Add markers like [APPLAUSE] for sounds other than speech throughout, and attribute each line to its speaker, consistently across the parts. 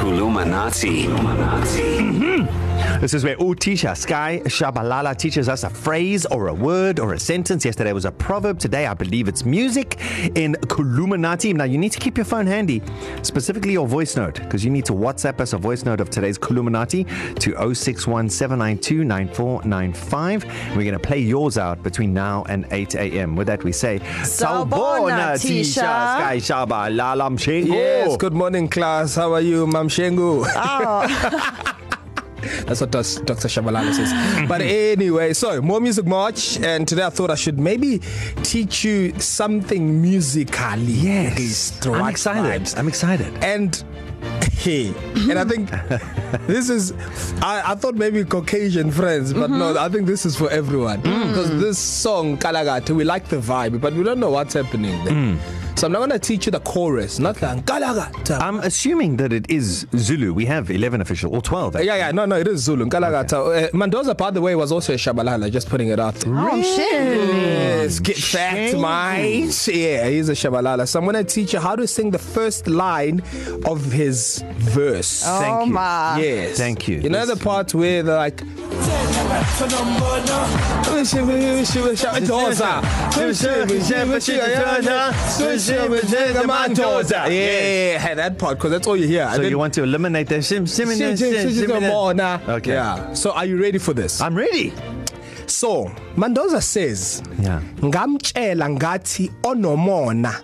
Speaker 1: Kulumanati.
Speaker 2: This is where Utisha Sky Shabalala teaches us a phrase or a word or a sentence. Yesterday was a proverb. Today, I believe it's music in Kuluminati. Now, you need to keep your phone handy, specifically your voice note, because you need to WhatsApp us a voice note of today's Kuluminati to 0617929495. We're going to play yours out between now and 8 a.m. With that, we say,
Speaker 3: Sawubona,
Speaker 2: Tisha
Speaker 3: Tisha.
Speaker 2: Sky Shabalala Mshengo.
Speaker 4: Yes, good morning, class. How are you, Mam Shengu?
Speaker 3: Oh,
Speaker 4: [LAUGHS] That's what does- Dr. Shabalala says.
Speaker 2: Mm-hmm.
Speaker 4: but anyway, so more Music March, and today I thought I should maybe teach you something musically. at
Speaker 2: Yes.
Speaker 4: least,
Speaker 2: I'm
Speaker 4: right
Speaker 2: excited.
Speaker 4: vibes.
Speaker 2: I'm excited.
Speaker 4: And hey, and I think this is, I, I thought maybe Caucasian friends, but mm-hmm. no, I think this is for everyone. Because mm-hmm. this song, Kalagate, we like the vibe, but we don't know what's happening there. Mm. So I'm not going to teach you the chorus, not the Kalagate.
Speaker 2: I'm assuming that it is Zulu. We have 11 official or 12.
Speaker 4: Yeah, yeah, no, no, it is Zulu. Nkalagata. Okay. Uh, Mendoza, by the way, was also a Shabalala, just putting it out there.
Speaker 3: oh shit.
Speaker 4: Yes, get fact, mate. Yeah, he's a Shabalala. So I'm going to teach you how to sing the first line of his verse.
Speaker 3: Oh, Thank you. my.
Speaker 4: Ah. Yes.
Speaker 2: Thank you.
Speaker 4: You know the part where they're like. Yeah, hey, that part, because that's all you hear.
Speaker 2: So you want to eliminate the sim sim sim sim
Speaker 4: Okay.
Speaker 2: Okay. Uh,
Speaker 4: Yeah. So are you ready for this?
Speaker 2: I'm ready.
Speaker 4: So, Mendoza says,
Speaker 2: Yeah.
Speaker 4: ngamtshela ngathi onomona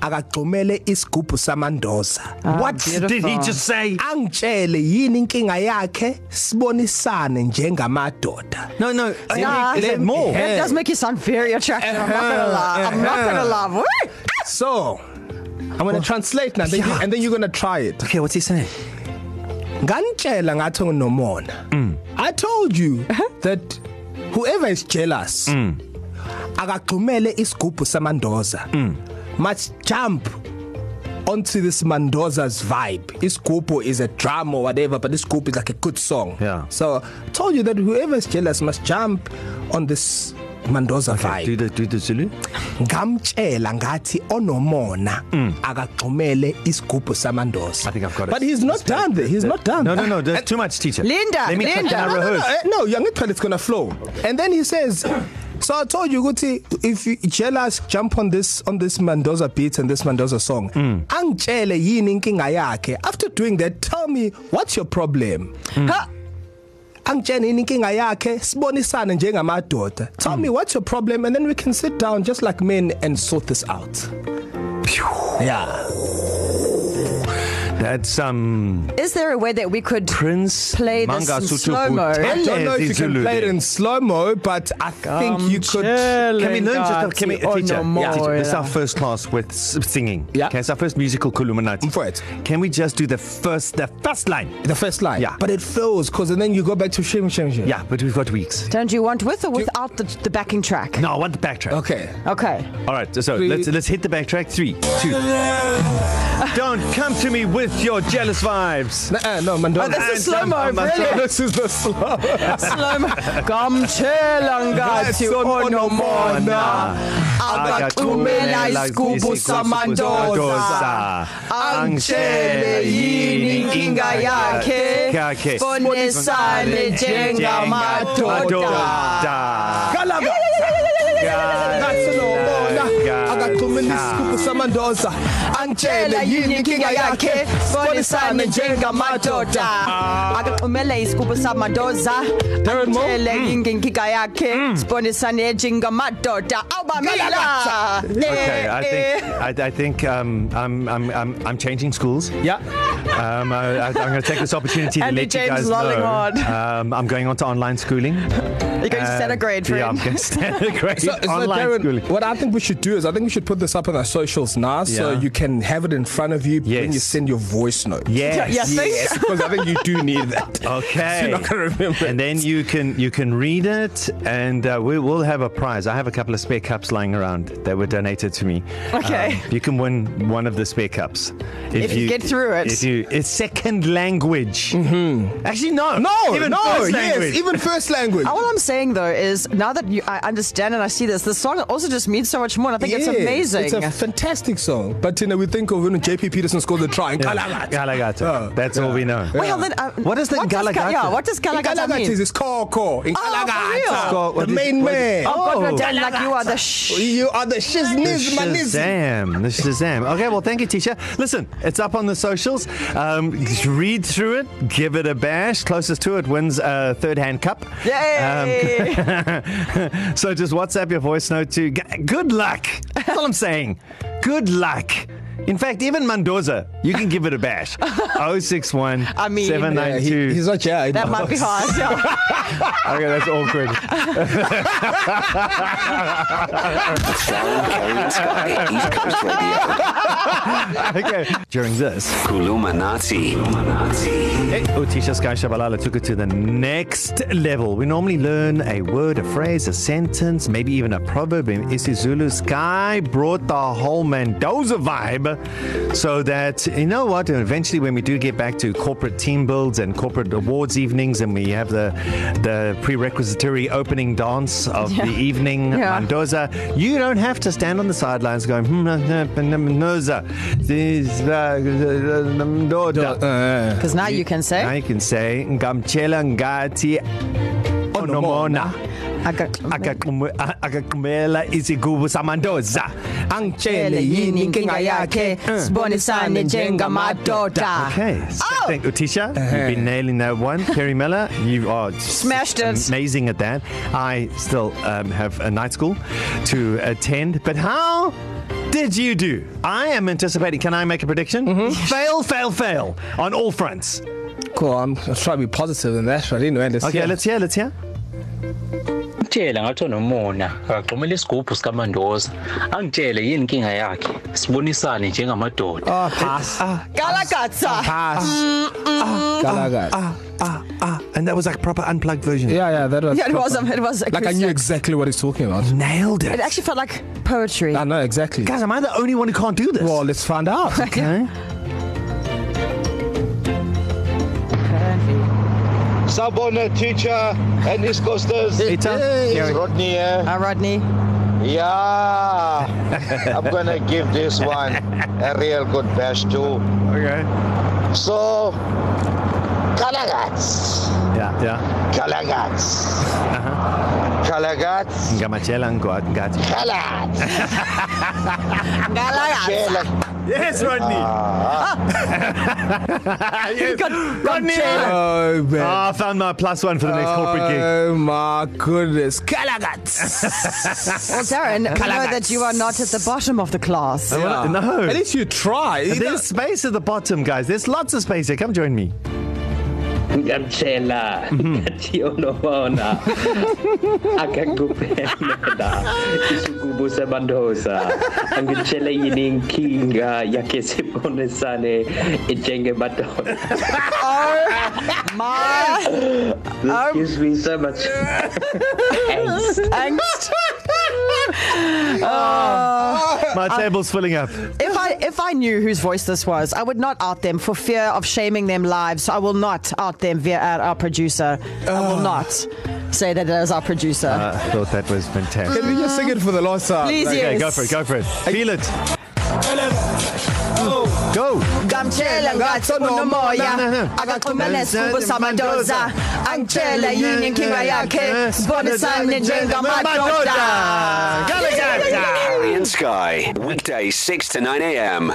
Speaker 4: akagcumele isigubhu samandoza.
Speaker 2: Ah, what beautiful.
Speaker 3: beautiful.
Speaker 2: did he
Speaker 4: uh,
Speaker 2: just say?
Speaker 4: Angitshele yini inkinga yakhe sibonisane njengamadoda.
Speaker 2: No, no.
Speaker 3: Yeah.
Speaker 2: Yeah. Is it more? Uh-huh.
Speaker 3: That does make you sound very attractive. I'm not gonna lie. I'm not gonna lie. Woo!
Speaker 4: So, I'm going to translate now then you,
Speaker 2: Yeah.
Speaker 4: and then you're going to try it.
Speaker 2: Okay, what's he saying?
Speaker 4: Ngantshela ngathi onomona. Mm. I told you that whoever is jealous mm. akagcumele isigubhu samandoza. Mm. Must jump onto this Mendoza's vibe. Iskupo is a drum or whatever, but Iskupo is like a good song.
Speaker 2: Yeah.
Speaker 4: So I told you that whoever is jealous must jump on this Mendoza okay, vibe.
Speaker 2: Do the do the Zulu?
Speaker 4: ngamtshela ngathi onomona akagxumele isigubhu samandoza
Speaker 2: Mm. I think I've got it.
Speaker 4: but he's not done there he's not done
Speaker 2: No, no,
Speaker 4: there.
Speaker 2: no. That's too much, teacher.
Speaker 3: Linda,
Speaker 2: Let me
Speaker 3: Linda.
Speaker 2: Try, can I
Speaker 3: No,
Speaker 4: uh, no,
Speaker 2: rehearse?
Speaker 4: no, eh, no young twelve it's gonna flow and then he says so i told you ukuthi if you jealous jump on this on this mandoza beat and this mandoza song mm. angitshele yini inkinga yakhe after doing that tell me what's your problem
Speaker 3: Ha!
Speaker 4: angitshele yini inkinga yakhe sibonisane njengamadoda tell mm. me what's your problem and then we can sit down just like men and sort this out yeah
Speaker 2: That's um
Speaker 3: Is there a way that we could
Speaker 2: Prince
Speaker 3: Play this
Speaker 2: Manga
Speaker 3: in
Speaker 2: Sutu
Speaker 3: slow-mo.
Speaker 2: Buthelezi
Speaker 4: I don't know if you can
Speaker 2: Zulu
Speaker 4: play it
Speaker 2: there.
Speaker 4: in slow mo, but I think you could.
Speaker 2: Can we learn just can we,
Speaker 3: Oh,
Speaker 2: teacher,
Speaker 3: no
Speaker 2: yeah. teacher?
Speaker 3: more,
Speaker 2: This is
Speaker 3: yeah.
Speaker 2: our first class with s- singing.
Speaker 4: Yeah.
Speaker 2: Okay, it's our first musical Kuluminati.
Speaker 4: I'm for it.
Speaker 2: Can we just do the first the first line?
Speaker 4: The first line.
Speaker 2: Yeah.
Speaker 4: But it flows because then you go back to shim shim shim.
Speaker 2: Yeah, but we've got weeks.
Speaker 3: Don't you want with or without the, the backing track?
Speaker 2: No, I want the backtrack.
Speaker 4: Okay.
Speaker 3: Okay.
Speaker 2: All right, so
Speaker 4: Three.
Speaker 2: let let's let's hit the backtrack. Three, two. [LAUGHS] Don't come to me with your jealous vibes.
Speaker 4: Nuh-uh, no, Mandela.
Speaker 3: Oh, this is
Speaker 2: And-
Speaker 3: slow-mo,
Speaker 2: and- and-
Speaker 3: brilliant.
Speaker 4: [LAUGHS] this is the slow.
Speaker 3: Slow-mo. Kamtshelangati onomona. Akathumela isigubhu samandoza. Angitshele yini inkinga yakhe.
Speaker 2: Yakhe.
Speaker 3: Bonisane njengamadoda.
Speaker 2: Madoda.
Speaker 4: Galaga. That's no bona. Akathumela isigubhu samandoza.
Speaker 3: Tshela
Speaker 4: Angitshele
Speaker 3: yini inkinga yakhe bonisane njengamadoda akaxhumele isigubhu samadoza
Speaker 4: Darren Moore?
Speaker 3: tshele
Speaker 2: Mm.
Speaker 3: inkinga yakhe sibonisane njengamadoda awubamelala
Speaker 2: Okay, I think I, I think um, I'm, I'm I'm I'm changing schools.
Speaker 4: Yeah.
Speaker 2: Um, I, I, I'm going to take this opportunity to
Speaker 3: Andy
Speaker 2: let
Speaker 3: James
Speaker 2: you guys
Speaker 3: lolling
Speaker 2: know.
Speaker 3: on.
Speaker 2: Um, I'm going on to online schooling.
Speaker 3: you're going to
Speaker 2: Um,
Speaker 3: centigrade
Speaker 2: Yeah, I'm going
Speaker 3: friend [LAUGHS]
Speaker 2: to centigrade
Speaker 4: So, so
Speaker 2: online schooling.
Speaker 4: Darren, what I think we should do is I think we should put this up on our socials now yeah. so
Speaker 2: Yeah.
Speaker 4: you can have it in front of you yes. when
Speaker 2: Yes.
Speaker 4: you send your voice note.
Speaker 2: Yes.
Speaker 3: Yes, thank- [LAUGHS]
Speaker 4: Yes, because I think you do need that.
Speaker 2: [LAUGHS] Okay.
Speaker 4: You're not going to remember.
Speaker 2: And then you can you can read it, and uh, we will have a prize. I have a couple of spare cups lying around that were donated to me.
Speaker 3: Okay.
Speaker 2: Um, you can win one of the spare cups
Speaker 3: If you get through it.
Speaker 2: If you, it's second language. Mm-hmm. Actually, no.
Speaker 4: No,
Speaker 2: Even
Speaker 4: no,
Speaker 2: first
Speaker 4: yes,
Speaker 2: language.
Speaker 4: even first language.
Speaker 3: Uh, all I'm saying though is now that you, I understand and I see this, the song also just means so much more. And I think it's amazing.
Speaker 4: It's a fantastic song. But you know, we think of when JP Peterson scored the try in Kalagata.
Speaker 2: Galagata. That's all we know.
Speaker 3: well, then, uh,
Speaker 2: What is the
Speaker 3: does Ka-
Speaker 2: Galagata?
Speaker 3: Yeah, what does Galagata
Speaker 4: Kalagata
Speaker 3: mean?
Speaker 4: is his core core. In
Speaker 3: Oh, for real?
Speaker 4: Kalagata.
Speaker 2: Core-
Speaker 4: the
Speaker 2: what is-
Speaker 4: main
Speaker 2: what is-
Speaker 4: man.
Speaker 3: oh, God,
Speaker 2: Oh.
Speaker 3: you're done like you are the sh.
Speaker 4: You are the
Speaker 2: The
Speaker 4: shizniz maniz.
Speaker 2: Shazam. The Shazam. Okay, well, thank you, teacher. Listen, it's up on the socials. Um, just read through it, give it a bash. Closest to it wins a third hand cup.
Speaker 3: Yay!
Speaker 2: Um, [LAUGHS] so just WhatsApp your voice note to. G- Good luck. That's all I'm saying. Good luck. In fact, even Mendoza, you can give it a bash. 061
Speaker 3: I mean-
Speaker 4: Yeah,
Speaker 2: 792.
Speaker 4: he, he's not
Speaker 3: [LAUGHS]
Speaker 4: here.
Speaker 3: That [LAUGHS] might be hard. Yeah.
Speaker 2: Okay, that's awkward.
Speaker 1: East Coast Radio.
Speaker 2: okay. During this.
Speaker 1: Kulumanati. Kulumanati.
Speaker 2: Hey, Utisha Sky Shabalala took it to the next level. We normally learn a word, a phrase, a sentence, maybe even a proverb in isiZulu. Sky brought the whole Mendoza vibe so that, you know what, and eventually when we do get back to corporate team builds and corporate awards evenings and we have the, the prerequisitory opening dance of yeah. the evening,
Speaker 3: Yeah.
Speaker 2: yeah. Mendoza, you don't have to stand on the sidelines going, "Hmm, Mendoza, this, uh, Mendoza.
Speaker 4: Uh,
Speaker 3: Because now you can
Speaker 2: Now
Speaker 3: say.
Speaker 2: you can say ngamtshela ngathi onomona
Speaker 3: I got,
Speaker 2: Akaqumu- a- akaqumbela isigubu samandoza
Speaker 4: angitshele yini inkinga yakhe.
Speaker 2: Uh.
Speaker 4: Uh.
Speaker 3: sibonisane njengamadoda
Speaker 2: Okay, so
Speaker 3: Oh!
Speaker 2: thank Utisha. You've been nailing that one. Kerry Miller, you are just
Speaker 3: Smashed it.
Speaker 2: amazing at that. I still um, have a night school to attend, but how did you do? I am anticipating. Can I make a prediction? Mm-hmm. [LAUGHS] Fail, fail, fail on all fronts.
Speaker 4: cool. I'm trying to be positive in that, but anyway, let's
Speaker 2: Okay,
Speaker 4: hear.
Speaker 2: let's hear. Let's hear.
Speaker 5: Ngitshela ngathi nomona akagxumela isigubhu sikaMandoza angitshele yini inkinga yakhe sibonisane njengamadoda
Speaker 4: Ah, pass. Ah,
Speaker 3: Galakatsa.
Speaker 4: pass. Ah, Kalagata. Ah,
Speaker 2: Ah, ah, and that was like proper unplugged version.
Speaker 4: yeah, yeah, that was.
Speaker 3: Yeah, it was. um,
Speaker 4: proper.
Speaker 3: It was.
Speaker 4: Like I knew exactly what he's talking about.
Speaker 2: Nailed it.
Speaker 3: It actually felt like poetry.
Speaker 4: I know exactly.
Speaker 2: Guys, am I the only one who can't do this?
Speaker 4: Well, let's
Speaker 3: [LAUGHS]
Speaker 4: find out.
Speaker 2: okay.
Speaker 6: Sabona teacher and East Coasters.
Speaker 2: It's uh, up.
Speaker 6: It's Rodney eh? here.
Speaker 3: Uh, Rodney.
Speaker 6: Yeah, I'm gonna give this one a real good bash too.
Speaker 2: Okay.
Speaker 6: So, Kalagats,
Speaker 2: Yeah, yeah.
Speaker 6: Kalagats, Kalagats,
Speaker 2: Ngamachela ngati.
Speaker 6: [LAUGHS] Kalagats,
Speaker 3: Galakatsa.
Speaker 6: Kalagats.
Speaker 2: Yes, Rodney. yes.
Speaker 3: Got-
Speaker 2: Rodney.
Speaker 3: Gamchela.
Speaker 4: Oh, man.
Speaker 2: Ah, I found my plus one for the next corporate gig.
Speaker 4: Oh my goodness. Kalagats.
Speaker 3: Well, Darren, we know
Speaker 4: Galakatsa.
Speaker 3: that you are not at the bottom of the class.
Speaker 2: Yeah. [LAUGHS] No.
Speaker 4: At least you try. You
Speaker 2: There's space at the bottom, guys. There's lots of space here. Come join me.
Speaker 7: ngamtshela ngathi
Speaker 5: [LAUGHS]
Speaker 7: unobona akagubhelela isigubo sebandoza angitshele yini inkinga yakhe sibonisane njengemadoda
Speaker 3: [LAUGHS] My
Speaker 7: this gives me so much angst
Speaker 3: angst.
Speaker 2: My table's filling up.
Speaker 3: If I if I knew whose voice this was, I would not out them for fear of shaming them live. So I will not out them via uh, our producer. I will not say that it is our producer.
Speaker 2: I thought that was fantastic.
Speaker 4: Can we just sing it for the last time?
Speaker 3: Please,
Speaker 4: Like,
Speaker 2: Okay,
Speaker 3: yes.
Speaker 2: go for it. Go for it. Feel it. Go.
Speaker 3: Ngamtshela ngathi unomoya akaxhumene isifuba samadoza angitshele yini inkinga yakhe sibonisane njengamadoda
Speaker 2: Galagata.
Speaker 1: Harry and Sky. Weekday 6 to 9 a.m.